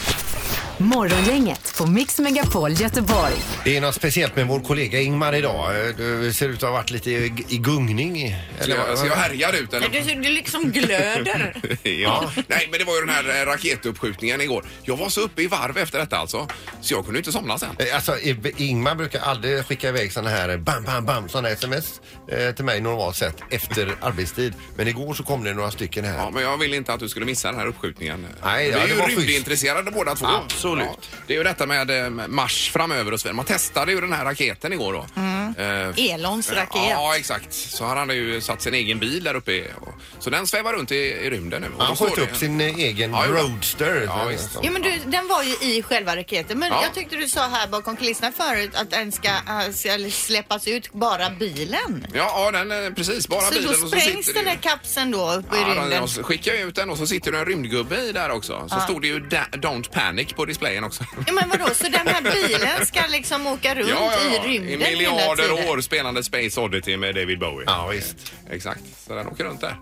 [SPEAKER 4] Morgongänget på Mix Megapol Göteborg.
[SPEAKER 3] Det är något speciellt med vår kollega Ingmar idag. Eh, Du ser ut att ha varit lite i i gungning. i-
[SPEAKER 1] Eller,
[SPEAKER 3] vad-
[SPEAKER 1] alltså, jag, ska jag härja ut eller?
[SPEAKER 2] Du, du liksom glöder.
[SPEAKER 1] ja. Nej, men det var ju den här eh, raketuppskjutningen igår. Jag var så uppe i varv efter detta alltså, så jag kunde inte somna sen.
[SPEAKER 3] Eh, Alltså I- Ingmar brukar aldrig skicka iväg sådana här eh, bam, bam, bam, sådana sms eh, till mig normalt sett efter arbetstid. Men igår så kom det några stycken här.
[SPEAKER 1] Ja, men jag ville inte att du skulle missa den här uppskjutningen.
[SPEAKER 3] Nej, ja,
[SPEAKER 1] vi är
[SPEAKER 3] det
[SPEAKER 1] ju
[SPEAKER 3] var schysst.
[SPEAKER 1] rymdintresserade båda två.
[SPEAKER 3] Absolut.
[SPEAKER 1] det är ju detta med eh, Mars framöver och så vidare. Man testade ju den här raketen igår då.
[SPEAKER 2] Mm.
[SPEAKER 1] Eh,
[SPEAKER 2] Elons raket.
[SPEAKER 1] Ja, exakt. Så här har han ju satt sin egen bil där uppe. Och- Så den svävar runt i, i rymden nu. Och då
[SPEAKER 3] Han
[SPEAKER 1] står
[SPEAKER 3] sköt
[SPEAKER 1] det-
[SPEAKER 3] upp sin eh, egen
[SPEAKER 1] Ja, det är bra.
[SPEAKER 3] roadster.
[SPEAKER 1] Ja, visst.
[SPEAKER 2] Ja, men du, den var ju i själva raketen. Men
[SPEAKER 1] Ja.
[SPEAKER 2] jag tyckte du sa här bakom kulisserna förut att den ska, äh, ska släppas ut bara bilen.
[SPEAKER 1] Ja, ja den, eh, precis. Bara
[SPEAKER 2] Så
[SPEAKER 1] bilen
[SPEAKER 2] då
[SPEAKER 1] och så
[SPEAKER 2] sprängs
[SPEAKER 1] sitter
[SPEAKER 2] den
[SPEAKER 1] det
[SPEAKER 2] där
[SPEAKER 1] ju-
[SPEAKER 2] kapseln då uppe i
[SPEAKER 1] Ja, de-
[SPEAKER 2] rymden.
[SPEAKER 1] de skickade ut den och så sitter det en rymdgubbe i där också. Så stod det ju da- Don't Panic på displayen också.
[SPEAKER 2] Ja, men vadå, så den här bilen ska liksom åka runt i rymden
[SPEAKER 1] I
[SPEAKER 2] hela tiden?
[SPEAKER 1] miljarder år spelande Space Oddity med David Bowie.
[SPEAKER 3] Ja, visst.
[SPEAKER 1] Exakt, så den åker runt där.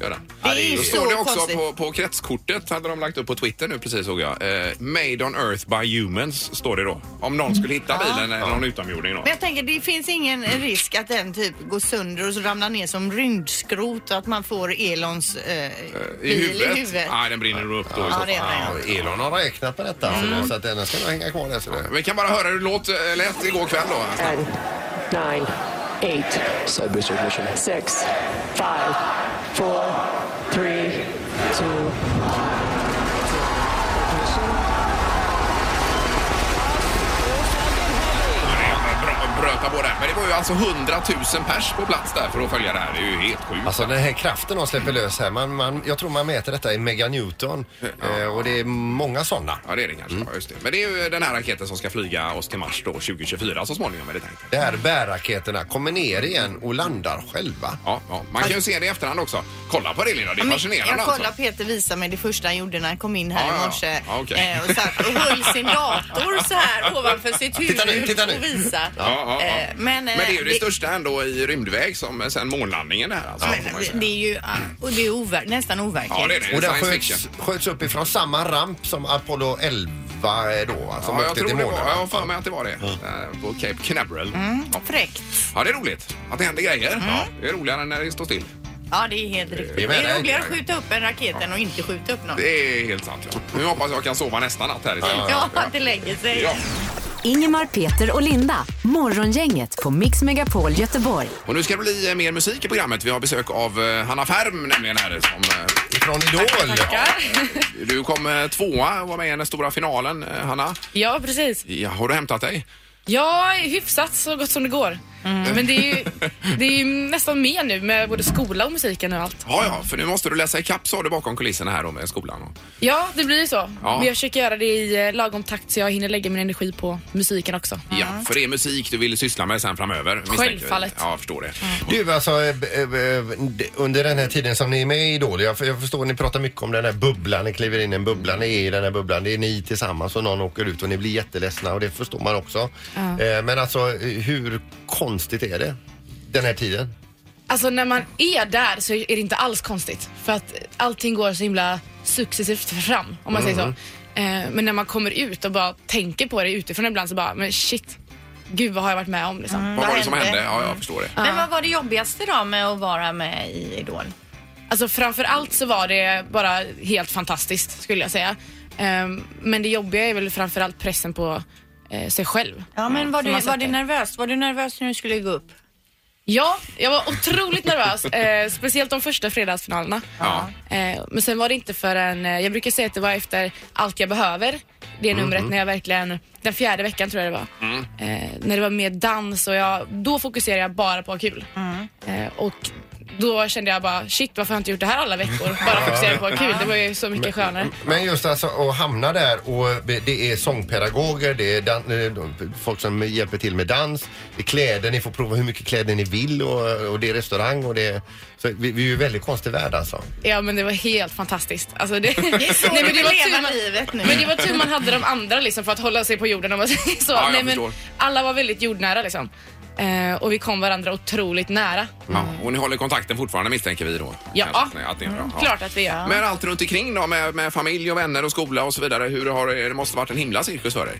[SPEAKER 1] Gör den.
[SPEAKER 2] Det är ju
[SPEAKER 1] Då
[SPEAKER 2] så
[SPEAKER 1] står det också
[SPEAKER 2] konstigt.
[SPEAKER 1] på, på kretskortet, hade de lagt upp på Twitter nu precis såg jag. Eh, Made on Earth by Humans står det då. Om någon skulle hitta bilen eller någon utomjording då.
[SPEAKER 2] Men jag tänker, det finns ingen risk att den typ går sönder och så ramlar ner som rymdskrot och att man får Elons eh, bil i huvudet.
[SPEAKER 1] Nej, den brinner nog upp då i Ah, så
[SPEAKER 2] Ja,
[SPEAKER 1] fall.
[SPEAKER 2] det är den, ja.
[SPEAKER 3] Ja, Elon har räknat på detta
[SPEAKER 1] Mm.
[SPEAKER 3] så att den ska nog hänga kvar där. Så det.
[SPEAKER 1] Vi kan bara höra hur det låt, eh, lät igår kväll då.
[SPEAKER 9] Ten, nine, eight, six, five, four, three, two.
[SPEAKER 1] Bra- Bröta på där. Men det var ju alltså 100 000 pers på plats där för att följa det här. Det är ju helt sjukt.
[SPEAKER 3] Alltså den här kraften de släpper lös här, man, man, jag tror man mäter detta i meganewton eh, och det är många sådana.
[SPEAKER 1] Ja, det är det kanske. Ja, just det. Men det är ju den här raketen som ska flyga oss till Mars då 2024 så småningom är det tänkt.
[SPEAKER 3] Det här bärraketerna kommer ner igen och landar själva.
[SPEAKER 1] Ja, ja. Man kan ju se det i efterhand också. Kolla på det Linda, det
[SPEAKER 2] Ja,
[SPEAKER 1] är
[SPEAKER 2] men
[SPEAKER 1] fascinerande
[SPEAKER 2] jag kollar
[SPEAKER 1] alltså.
[SPEAKER 2] Peter visa mig det första han gjorde när han kom in här
[SPEAKER 1] Ja, ja,
[SPEAKER 2] i
[SPEAKER 1] ja.
[SPEAKER 2] morse.
[SPEAKER 1] Ja, okej.
[SPEAKER 2] eh, och, satt och höll sin dator så här ovanför sitt huvud
[SPEAKER 3] Titta nu, titta nu.
[SPEAKER 2] och visa.
[SPEAKER 1] Ja, ja, ja.
[SPEAKER 2] Eh,
[SPEAKER 1] Men,
[SPEAKER 2] eh,
[SPEAKER 1] det är ju det, största ändå i rymdväg som eh, sen månlandningen här alltså. får man ju
[SPEAKER 2] Men
[SPEAKER 1] säga.
[SPEAKER 2] det är ju ah, och det är overk, nästan overkligt.
[SPEAKER 1] Ja, det är det.
[SPEAKER 3] Och
[SPEAKER 1] det
[SPEAKER 3] den
[SPEAKER 1] är science fiction.
[SPEAKER 3] sköts, sköts upp ifrån samma ramp som Apollo 11 då, alltså
[SPEAKER 1] Ja, jag tror det
[SPEAKER 3] åkte till
[SPEAKER 1] var.
[SPEAKER 3] månen.
[SPEAKER 1] Jag har för mig att det var det. Eh, På Cape Canaveral.
[SPEAKER 2] Mm.
[SPEAKER 1] Ja.
[SPEAKER 2] Fräckt.
[SPEAKER 1] ja, det är roligt att det händer grejer.
[SPEAKER 2] Mm.
[SPEAKER 1] Ja, det är roligare än när det står still.
[SPEAKER 2] Ja, det är helt riktigt.
[SPEAKER 3] Vi
[SPEAKER 2] Det
[SPEAKER 3] är med dig.
[SPEAKER 2] är roligare att skjuta upp en raket än att inte skjuta upp någon.
[SPEAKER 1] Det är helt sant. Ja. Nu hoppas jag kan sova nästa natt här istället.
[SPEAKER 2] Ja, att det lägger sig.
[SPEAKER 1] Ja.
[SPEAKER 4] Ingemar, Peter och Linda. Morgongänget på Mix Megapol Göteborg.
[SPEAKER 1] Och nu ska det bli eh, mer musik i programmet. Vi har besök av eh, Hanna Färm nämligen här som eh,
[SPEAKER 3] Ifrån Idol.
[SPEAKER 1] Du kom eh, tvåa och var med i den stora finalen, eh, Hanna.
[SPEAKER 10] Ja, precis.
[SPEAKER 1] Ja, har du hämtat dig?
[SPEAKER 10] Ja, hyfsat så gott som det går. Men det är, ju, det är ju nästan mer nu med både skola och musiken och allt.
[SPEAKER 1] Ja, ja, för nu måste du läsa ikapp sa du bakom kulisserna här då med skolan. och-
[SPEAKER 10] Ja, det blir ju så.
[SPEAKER 1] Ja.
[SPEAKER 10] Men jag försöker göra det i eh, lagom takt så jag hinner lägga min energi på musiken också.
[SPEAKER 1] Ja, för det är musik du vill syssla med sen framöver. misstänker vi.
[SPEAKER 10] Mm. Självfallet. Mm.
[SPEAKER 1] Ja, jag förstår det.
[SPEAKER 3] Du alltså eh, b- eh, b- d- under den här tiden som ni är med i Idol, jag, jag förstår ni pratar mycket om den här bubblan, ni kliver in i en bubbla, ni är i den här bubblan, det är ni tillsammans och någon åker ut och ni blir jätteledsna och det förstår man också. Eh, Men alltså eh, hur konstigt är det? Den här tiden?
[SPEAKER 10] Alltså när man är där så är det inte alls konstigt. För att allting går så himla successivt fram,
[SPEAKER 5] Mm.
[SPEAKER 10] om man säger så. Eh, Men när man kommer ut och bara tänker på det utifrån ibland så bara, men shit, gud vad har jag varit med om liksom.
[SPEAKER 1] Vad var det som
[SPEAKER 2] hände?
[SPEAKER 1] hände? Ja, jag förstår det.
[SPEAKER 2] Men vad var det jobbigaste då med att vara med i Idol?
[SPEAKER 10] Alltså framför allt så var det bara helt fantastiskt skulle jag säga. Ehm, men det jobbiga är väl framför allt pressen på eh, sig själv.
[SPEAKER 2] Ja, men var
[SPEAKER 10] Som
[SPEAKER 2] du,
[SPEAKER 10] man
[SPEAKER 2] var
[SPEAKER 10] sätter.
[SPEAKER 2] du nervös? Var du nervös när du skulle gå upp?
[SPEAKER 10] Ja, jag var otroligt nervös. Eh, speciellt de första fredagsfinalerna.
[SPEAKER 1] Ja.
[SPEAKER 10] Eh, men sen var det inte förrän, eh, jag brukar säga att det var efter Allt jag behöver, det
[SPEAKER 1] Mhm.
[SPEAKER 10] numret när jag verkligen, den fjärde veckan tror jag det var,
[SPEAKER 1] Mm.
[SPEAKER 10] Mm. eh, när det var mer dans och jag, då fokuserade jag bara på att ha kul. Eh, och Då kände jag bara shit varför har jag inte gjort det här alla veckor? Bara fokusera på vad kul, det var ju så mycket skönare.
[SPEAKER 3] Men just alltså att hamna där och det är sångpedagoger, det är dan- eh, de- folk som hjälper till med dans, det är kläder, ni får prova hur mycket kläder ni vill och, och det är restaurang och det är... Så vi, vi är ju en väldigt konstig värld alltså.
[SPEAKER 10] Ja men det var helt fantastiskt. Alltså det,
[SPEAKER 2] Det är så
[SPEAKER 10] men
[SPEAKER 2] du vill
[SPEAKER 10] tur
[SPEAKER 2] leva livet nu.
[SPEAKER 10] Men det var tur man hade de andra liksom för att hålla sig på jorden om man säger så.
[SPEAKER 1] Ja, jag
[SPEAKER 10] Nej, men
[SPEAKER 1] förstår.
[SPEAKER 10] alla var väldigt jordnära liksom. Eh, och vi kom varandra otroligt nära.
[SPEAKER 1] Ja, och ni håller kontakten fortfarande misstänker vi då?
[SPEAKER 10] Mm. Ja. Mm,
[SPEAKER 1] Kanske att ni- att ni gör, ja.
[SPEAKER 10] Klart att vi gör.
[SPEAKER 1] Men allt runt omkring då med, med familj och vänner och skola och så vidare. Hur har, det måste varit en himla cirkus för dig?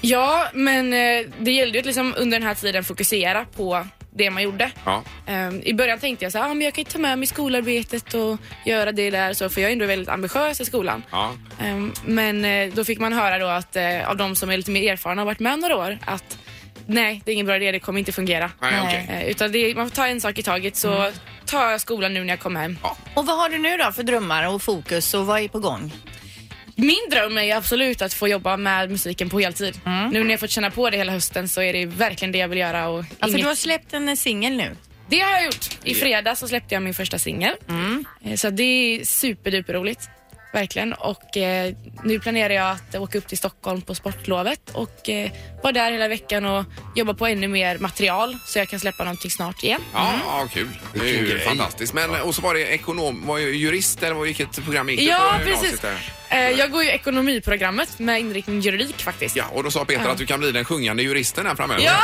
[SPEAKER 10] Ja, men eh, det gällde ju att liksom under den här tiden fokusera på det man gjorde.
[SPEAKER 1] Ja.
[SPEAKER 10] Ehm, I början tänkte jag så här, ah, men jag kan ju ta med mig skolarbetet och göra det där och så, för jag är ändå väldigt ambitiös i skolan.
[SPEAKER 1] Ja.
[SPEAKER 10] Ehm, men eh, då fick man höra då att eh, av de som är lite mer erfarna och varit med några år att nej, det är ingen bra idé, det kommer inte fungera.
[SPEAKER 1] Nej, Mm. okej.
[SPEAKER 10] Eh, utan det, man får ta en sak i taget så tar jag skolan nu när jag kommer hem.
[SPEAKER 2] Och vad har du nu då för drömmar och fokus och vad är på gång?
[SPEAKER 10] Min dröm är ju absolut att få jobba med musiken på heltid.
[SPEAKER 1] Mm.
[SPEAKER 10] Nu när jag fått känna på det hela hösten så är det verkligen det jag vill göra. Och
[SPEAKER 2] Ja, för
[SPEAKER 10] inget-
[SPEAKER 2] du har släppt en eh, singel nu.
[SPEAKER 10] Det har jag gjort. I fredags så släppte jag min första singel.
[SPEAKER 1] Mm.
[SPEAKER 10] Eh, Så det är superduper roligt. Verkligen. Och eh, nu planerar jag att åka upp till Stockholm på sportlovet och eh, vara där hela veckan och jobba på ännu mer material så jag kan släppa någonting snart igen.
[SPEAKER 1] Ja, ja, kul. Det är
[SPEAKER 3] Vilken
[SPEAKER 1] ju
[SPEAKER 3] grej.
[SPEAKER 1] fantastiskt. Men och så var det ekonom, var ju jurist eller vad- vilket program gick du
[SPEAKER 10] Ja,
[SPEAKER 1] på gymnasiet
[SPEAKER 10] precis.
[SPEAKER 1] där?
[SPEAKER 10] Eh, jag går ju ekonomiprogrammet med inriktning juridik faktiskt.
[SPEAKER 1] Ja, och då sa Peter att du kan bli den sjungande juristen här framöver.
[SPEAKER 10] Ja.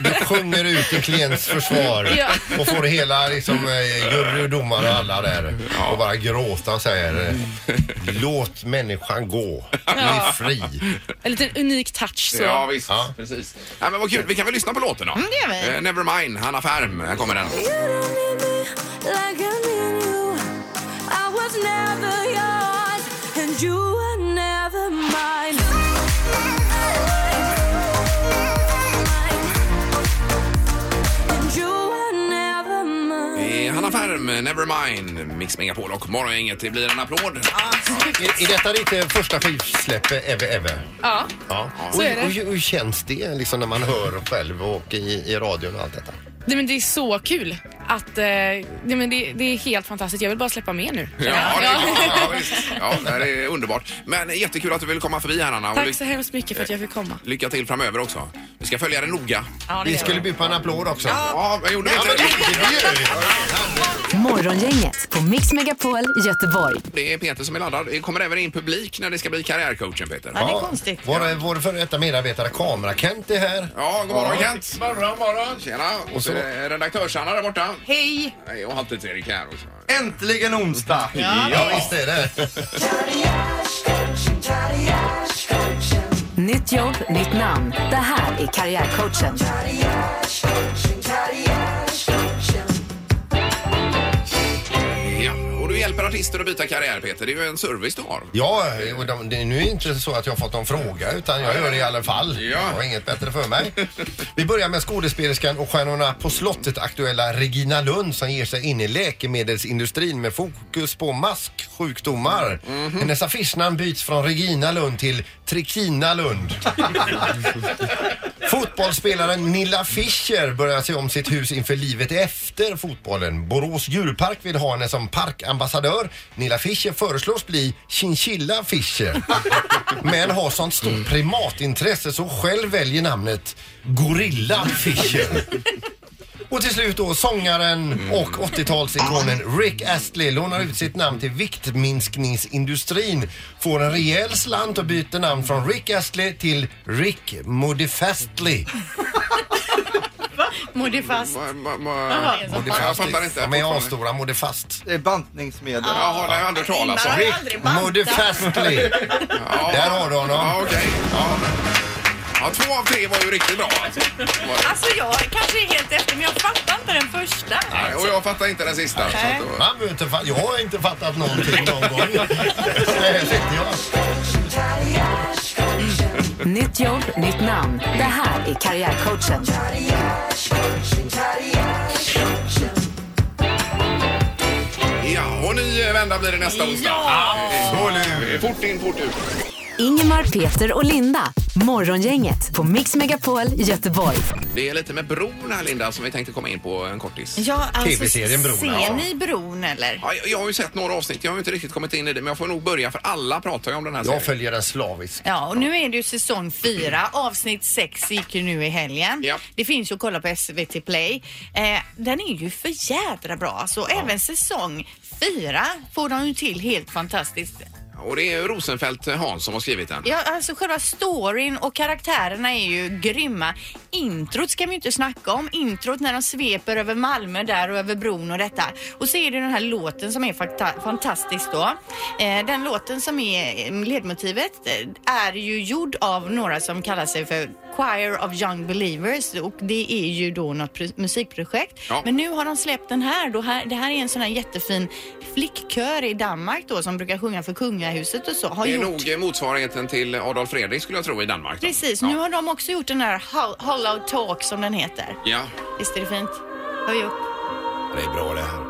[SPEAKER 3] Du sjunger ut i klients försvar
[SPEAKER 10] Ja.
[SPEAKER 3] och får hela liksom eh, jury och domare och alla där och bara gråta och säger eh, låt människan gå, bli fri.
[SPEAKER 10] En liten unik touch så.
[SPEAKER 1] Ja, visst.
[SPEAKER 3] Ja.
[SPEAKER 1] Precis. Ja, men vad kul. Vi kan väl lyssna på låten då? Mm,
[SPEAKER 2] det gör vi.
[SPEAKER 1] Nevermind, Hanna Färm. Här kommer den. Det är Hanna Färm, Nevermind, Mix Megapol och Morgongänget. Det blir en applåd.
[SPEAKER 3] Är, är detta ditt eh, första skivsläpp ever ever?
[SPEAKER 10] Ja.
[SPEAKER 3] Ja.
[SPEAKER 10] Så
[SPEAKER 3] och,
[SPEAKER 10] är det.
[SPEAKER 3] och hur- hur känns det liksom när man hör själv och i, i radion och allt detta?
[SPEAKER 10] Nej, men det är så kul. Att, eh, nej, men det, det är helt fantastiskt. Jag vill bara släppa mer nu.
[SPEAKER 1] Ja, det är, klart. ja, visst. ja, det här är underbart. Men jättekul att du vill komma förbi här, Hanna. Och
[SPEAKER 10] Tack
[SPEAKER 1] ly-
[SPEAKER 10] så hemskt mycket för att jag fick komma.
[SPEAKER 1] lycka till framöver också. Vi ska följa det noga.
[SPEAKER 3] Vi skulle bjuda på en applåd också.
[SPEAKER 1] Ja, jag gjorde inte det.
[SPEAKER 4] Morgongänget på Mix Megapol Göteborg.
[SPEAKER 1] Det är Peter som är laddad. Det kommer även in publik när det ska bli karriärcoachen, Peter.
[SPEAKER 2] Ja, det är konstigt.
[SPEAKER 3] Vår, vår före detta medarbetare Kamera-Kent är här.
[SPEAKER 1] Ja, god morgon Kent!
[SPEAKER 11] Morgon, morgon!
[SPEAKER 1] Tjena! Och så
[SPEAKER 3] så-
[SPEAKER 1] är redaktörs-Hanna där borta.
[SPEAKER 7] Hej!
[SPEAKER 1] Hej! Och halvtids-Erik här också.
[SPEAKER 11] Äntligen onsdag!
[SPEAKER 3] Ja, visst är det.
[SPEAKER 4] Nytt jobb, nytt namn. Det här är Karriärcoachen.
[SPEAKER 1] Ja, och du hjälper artister att byta karriär, Peter. Det är ju en service du har.
[SPEAKER 3] Ja, och de, det, nu är det inte så att jag har fått någon fråga utan jag gör det i alla fall.
[SPEAKER 1] Ja.
[SPEAKER 3] Jag har inget bättre för mig. Vi börjar med skådespelerskan och Stjärnorna på slottet aktuella Regina Lund som ger sig in i läkemedelsindustrin med fokus på masksjukdomar. Hennes affischnamn byts från Regina Lund till Trikina Lund. Fotbollsspelaren Nilla Fischer börjar se om sitt hus inför livet efter fotbollen. Borås djurpark vill ha henne som parkambassadör. Nilla Fischer föreslås bli Chinchilla Fischer. Men har sånt stort primatintresse så själv väljer namnet Gorilla Fischer. Och till slut då sångaren och 80-talsikonen Rick Astley lånar ut sitt namn till viktminskningsindustrin. Får en rejäl slant och byter namn från Rick Astley till Rick Modifastly.
[SPEAKER 2] Modifast.
[SPEAKER 1] Ma, ma, ma, jag fattar inte.
[SPEAKER 3] Ja, men jag har stora Modifast.
[SPEAKER 11] Det är bantningsmedel.
[SPEAKER 1] Jaha, det har jag aldrig hört talas om.
[SPEAKER 2] Man har ju aldrig bantat.
[SPEAKER 3] Modifastly. Där har du
[SPEAKER 1] Ja,
[SPEAKER 3] honom.
[SPEAKER 1] okej. Ja. Ja, två av tre var ju riktigt bra. Alltså.
[SPEAKER 2] Alltså jag kanske är helt efter men jag fattar inte den första.
[SPEAKER 1] Nej, Och jag fattar inte den sista. Så att, då-
[SPEAKER 3] Man behöver inte fa- jag har inte fattat någonting någon gång. Det här sitter jag.
[SPEAKER 4] Nytt jobb, nytt namn. Det här är Karriärcoachen.
[SPEAKER 1] ja, och ny vända blir det nästa onsdag. Ja. Fort in, fort ut.
[SPEAKER 4] Ingemar, Peter och Linda. Morgongänget på Mix Megapol Göteborg.
[SPEAKER 1] Det är lite med bron här Linda som vi tänkte komma in på en kortis.
[SPEAKER 2] Ja, alltså, Ser ni bron eller?
[SPEAKER 1] Ja, jag, jag har ju sett några avsnitt, jag har ju inte riktigt kommit in i det men jag får nog börja för alla pratar ju om den här
[SPEAKER 3] Jag följer den slaviskt.
[SPEAKER 2] Ja, och nu är det ju säsong fyra. Avsnitt sex gick ju nu i helgen. Det finns ju att kolla på SVT Play. Eh, den är ju för jädra bra. Så även säsong fyra får de ju till helt fantastiskt.
[SPEAKER 1] Och det är Rosenfeldt eh, Hans som har skrivit den.
[SPEAKER 2] Ja, alltså själva storyn och karaktärerna är ju grymma. Introt ska vi ju inte snacka om. Introt när de sveper över Malmö där och över bron och detta. Och så är det den här låten som är fakta- fantastisk då. Eh, den låten som är eh, ledmotivet eh, är ju gjord av några som kallar sig för Choir of Young Believers och det är ju då något pr- musikprojekt.
[SPEAKER 12] Ja.
[SPEAKER 2] Men nu har de släppt den här, då här. Det här är en sån här jättefin flickkör i Danmark då som brukar sjunga för kungahuset och så. Har
[SPEAKER 1] det är
[SPEAKER 2] gjort...
[SPEAKER 1] nog eh, motsvarigheten till Adolf Fredrik skulle jag tro i Danmark. då.
[SPEAKER 2] Precis, nu har de också gjort den här Ho- Hollow Talk som den heter.
[SPEAKER 1] Ja,
[SPEAKER 2] Visst är det fint? Höj upp.
[SPEAKER 3] Det är bra det här.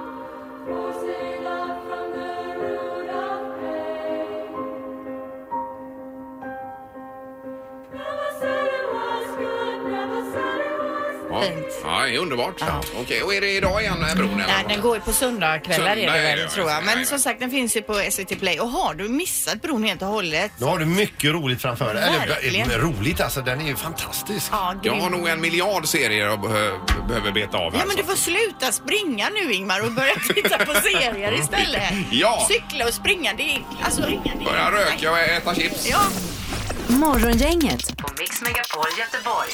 [SPEAKER 1] ja. ja det är underbart. Okej, och är det idag igen eh, bron? eller?
[SPEAKER 2] Nej, den går ju på söndagkvällar är
[SPEAKER 1] Söndag
[SPEAKER 2] det
[SPEAKER 1] är det, ja,
[SPEAKER 2] väl, tror jag.
[SPEAKER 1] just det.
[SPEAKER 2] Men
[SPEAKER 1] Nej,
[SPEAKER 2] som sagt, den finns ju på SVT Play. Och har du missat bron helt och hållet?
[SPEAKER 3] Nu har du mycket roligt framför dig.
[SPEAKER 2] Verkligen.
[SPEAKER 3] Eller eh, roligt alltså, den är ju fantastisk.
[SPEAKER 2] Ja, grym.
[SPEAKER 1] Jag har nog en miljard serier jag beh- behöver beta av här.
[SPEAKER 2] Ja, men du får sluta springa nu Ingmar och börja titta på serier istället.
[SPEAKER 1] Ja.
[SPEAKER 2] Cykla och springa, det är... Alltså,
[SPEAKER 1] Börja röka och äta chips.
[SPEAKER 2] Ja.
[SPEAKER 4] Morgongänget på Mix Megapol Göteborg.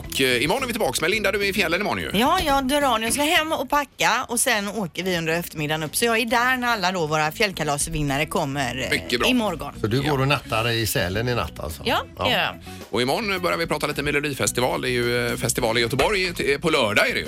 [SPEAKER 1] Och eh, imorgon är vi tillbaka med Linda, du är i fjällen imorgon ju.
[SPEAKER 2] Ja, jag drar nu. Jag ska hem och packa och sen åker vi under eftermiddagen upp. Så jag är där när alla då våra fjällkalasvinnare kommer eh,
[SPEAKER 1] Mycket bra.
[SPEAKER 2] imorgon.
[SPEAKER 3] Så du går och nattar i Sälen i natt alltså?
[SPEAKER 2] Ja, det gör jag.
[SPEAKER 1] Och imorgon börjar vi prata lite melodifestival. Det är ju eh, festival i Göteborg eh, på lördag är det ju.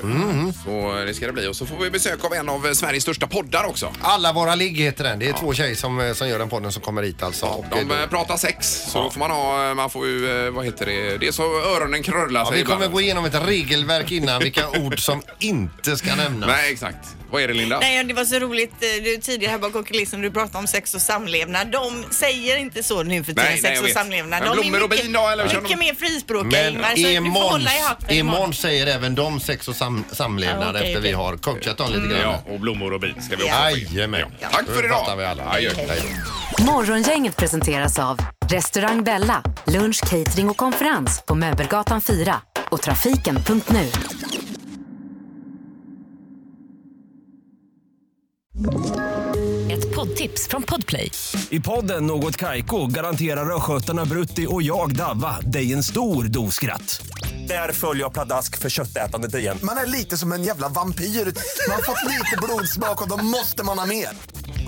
[SPEAKER 1] Så eh, det ska det bli. Och så får vi besök av en av eh, Sveriges största poddar också.
[SPEAKER 3] Alla våra ligg heter den. Det är två tjejer som, eh, som gör den podden som kommer hit alltså. Och, eh,
[SPEAKER 1] De eh, pratar sex, så då får man ha, eh, man får ju, eh, vad heter det, det är så öronen krullar
[SPEAKER 3] ja,
[SPEAKER 1] sig
[SPEAKER 3] vi
[SPEAKER 1] ibland.
[SPEAKER 3] kommer gå igenom ett regelverk innan vilka ord som inte ska nämnas.
[SPEAKER 1] Nej, exakt. Vad är det Linda?
[SPEAKER 2] Nej, det var så roligt eh, du tidigare här bakom kulissen du pratade om sex och samlevnad. De säger inte så nu för tiden,
[SPEAKER 3] Nej, nej,
[SPEAKER 2] sex
[SPEAKER 3] jag
[SPEAKER 2] och
[SPEAKER 3] vet.
[SPEAKER 2] samlevnad.
[SPEAKER 3] Men
[SPEAKER 2] De
[SPEAKER 3] blommor
[SPEAKER 2] är
[SPEAKER 3] och
[SPEAKER 2] mycket,
[SPEAKER 3] bin då, eller kör de-
[SPEAKER 2] mycket mer frispråkiga
[SPEAKER 3] Men
[SPEAKER 2] Ingmar, så du får
[SPEAKER 3] imorgon,
[SPEAKER 2] hålla i hatten
[SPEAKER 3] imorgon säger även de sex och sam, samlevnad
[SPEAKER 2] Ja, okej,
[SPEAKER 3] efter vi
[SPEAKER 2] okej. Mm.
[SPEAKER 3] har coachat dem lite grann.
[SPEAKER 1] Ja, och blommor och bin ska
[SPEAKER 4] vi också få in.
[SPEAKER 3] Jajamän.
[SPEAKER 4] Ja.
[SPEAKER 1] Tack för idag.
[SPEAKER 3] Då fattar vi alla.
[SPEAKER 1] Adjö.
[SPEAKER 4] Morgongänget presenteras av Restaurang Bella, lunch, catering och konferens på Möbelgatan 4 och trafiken.nu. Ett poddtips från Podplay.
[SPEAKER 13] I podden Något Kaiko garanterar östgötarna Brutti och jag, Davva, dig en stor dos skratt. Där följer jag pladask för köttätandet igen.
[SPEAKER 14] Man är lite som en jävla vampyr. Man har fått lite blodsmak och då måste man ha mer.